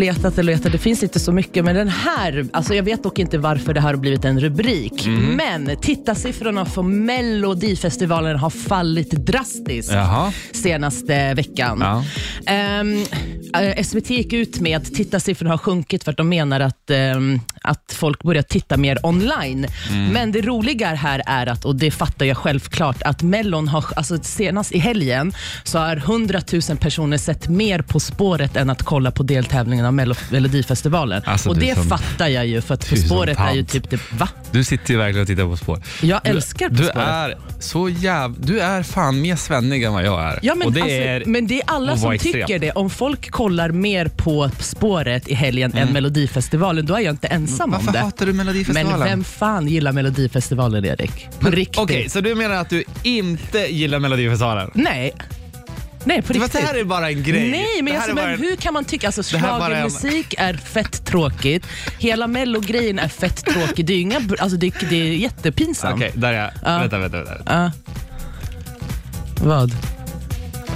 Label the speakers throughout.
Speaker 1: letat och letat, det finns inte så mycket. Men den här, alltså jag vet dock inte varför det här har blivit en rubrik. Men tittarsiffrorna för Melodifestivalen har fallit drastiskt
Speaker 2: Jaha.
Speaker 1: senaste veckan.
Speaker 2: Ja.
Speaker 1: Ehm, eh, SVT gick ut med att tittarsiffrorna har sjunkit för att de menar att, ehm, att folk börjar titta mer online.
Speaker 2: Mm.
Speaker 1: Men det roliga här är att, och det fattar jag självklart, att Mellon har, alltså senast i helgen så har 100 000 personer sett mer På spåret än att kolla på deltävlingen av Mello- Melodifestivalen.
Speaker 2: Alltså,
Speaker 1: och
Speaker 2: du
Speaker 1: det
Speaker 2: som-
Speaker 1: fattar jag ju för att På
Speaker 2: du som
Speaker 1: spåret är ju
Speaker 2: tant.
Speaker 1: typ det, va?
Speaker 2: Du sitter ju verkligen och tittar på spår.
Speaker 1: Jag
Speaker 2: Du-
Speaker 1: älskar På
Speaker 2: du
Speaker 1: spåret.
Speaker 2: Är så jäv... Du är fan mer svennig än vad jag är.
Speaker 1: Ja, men,
Speaker 2: och det
Speaker 1: alltså,
Speaker 2: är...
Speaker 1: men det är alla
Speaker 2: att
Speaker 1: som
Speaker 2: vara
Speaker 1: tycker
Speaker 2: extrem.
Speaker 1: det. Om folk kollar mer på spåret i helgen
Speaker 2: Mm.
Speaker 1: än Melodifestivalen, då är jag inte ensam om
Speaker 2: Varför
Speaker 1: det.
Speaker 2: hatar du Melodifestivalen?
Speaker 1: Men vem fan gillar Melodifestivalen, Erik? På riktigt?
Speaker 2: Okej, så du menar att du inte gillar Melodifestivalen?
Speaker 1: Nej. Nej, på
Speaker 2: Men
Speaker 1: riktigt.
Speaker 2: Det här är bara en grej.
Speaker 1: Nej, men,
Speaker 2: det
Speaker 1: alltså,
Speaker 2: här är bara
Speaker 1: men
Speaker 2: en-
Speaker 1: hur kan man tycka... Alltså,
Speaker 2: här är bara en-
Speaker 1: schlagermusik är fett tråkigt. Hela mellogrejen är fett tråkig. Det är, ju inga, br- alltså, det, är- det är jättepinsamt.
Speaker 2: Okej, där är jag.
Speaker 1: Ja.
Speaker 2: Vänta, vänta, vänta.
Speaker 1: Ja. Vad?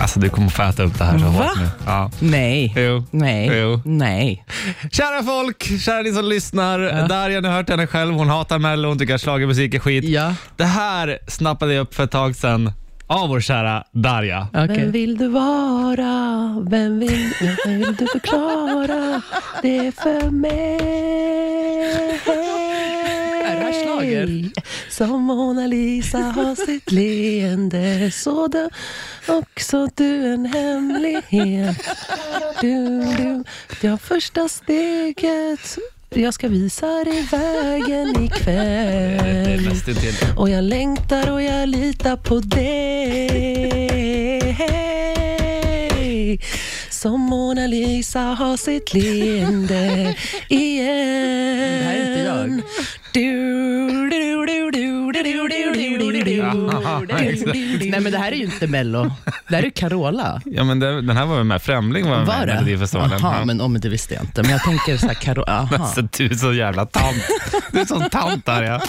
Speaker 2: Alltså du kommer få äta upp det här så
Speaker 1: Va?
Speaker 2: hårt nu. Ja.
Speaker 1: Nej.
Speaker 2: Jo.
Speaker 1: Nej.
Speaker 2: Eh. Jo.
Speaker 1: Nej.
Speaker 2: Kära folk, kära ni som lyssnar. Darja, ni har hört henne själv. Hon hatar Mello, hon tycker att schlagermusik är skit.
Speaker 1: Ja.
Speaker 2: Det här snappade jag upp för ett tag sedan av vår kära Darja.
Speaker 1: Okej.
Speaker 3: Vem vill du vara? Vem vill, vem vill du förklara? Det är för mig
Speaker 1: Är det här schlager?
Speaker 3: Som Mona Lisa har sitt leende Så då också du en hemlighet du, du, Ja, första steget Jag ska visa dig vägen
Speaker 1: Eh.
Speaker 3: ikväll
Speaker 2: Nästintill.
Speaker 3: och jag längtar och jag litar på dig Som Mona Lisa har sitt leende igen
Speaker 1: Det här är inte jag.
Speaker 3: Du, du, du, du, du, du, du, du, du, du.
Speaker 1: Nej men det här är ju inte Mello. Det här är ju Carola.
Speaker 2: Ja, men det, den här var väl med. Främling var,
Speaker 1: Var
Speaker 2: med i
Speaker 1: det?
Speaker 2: Melodifestivalen.
Speaker 1: Jaha,
Speaker 2: Ja.
Speaker 1: men, oh, men det visste jag inte. Men jag tänker så här, Carola.
Speaker 2: Alltså du är så jävla tant. Du är sån tant Darja.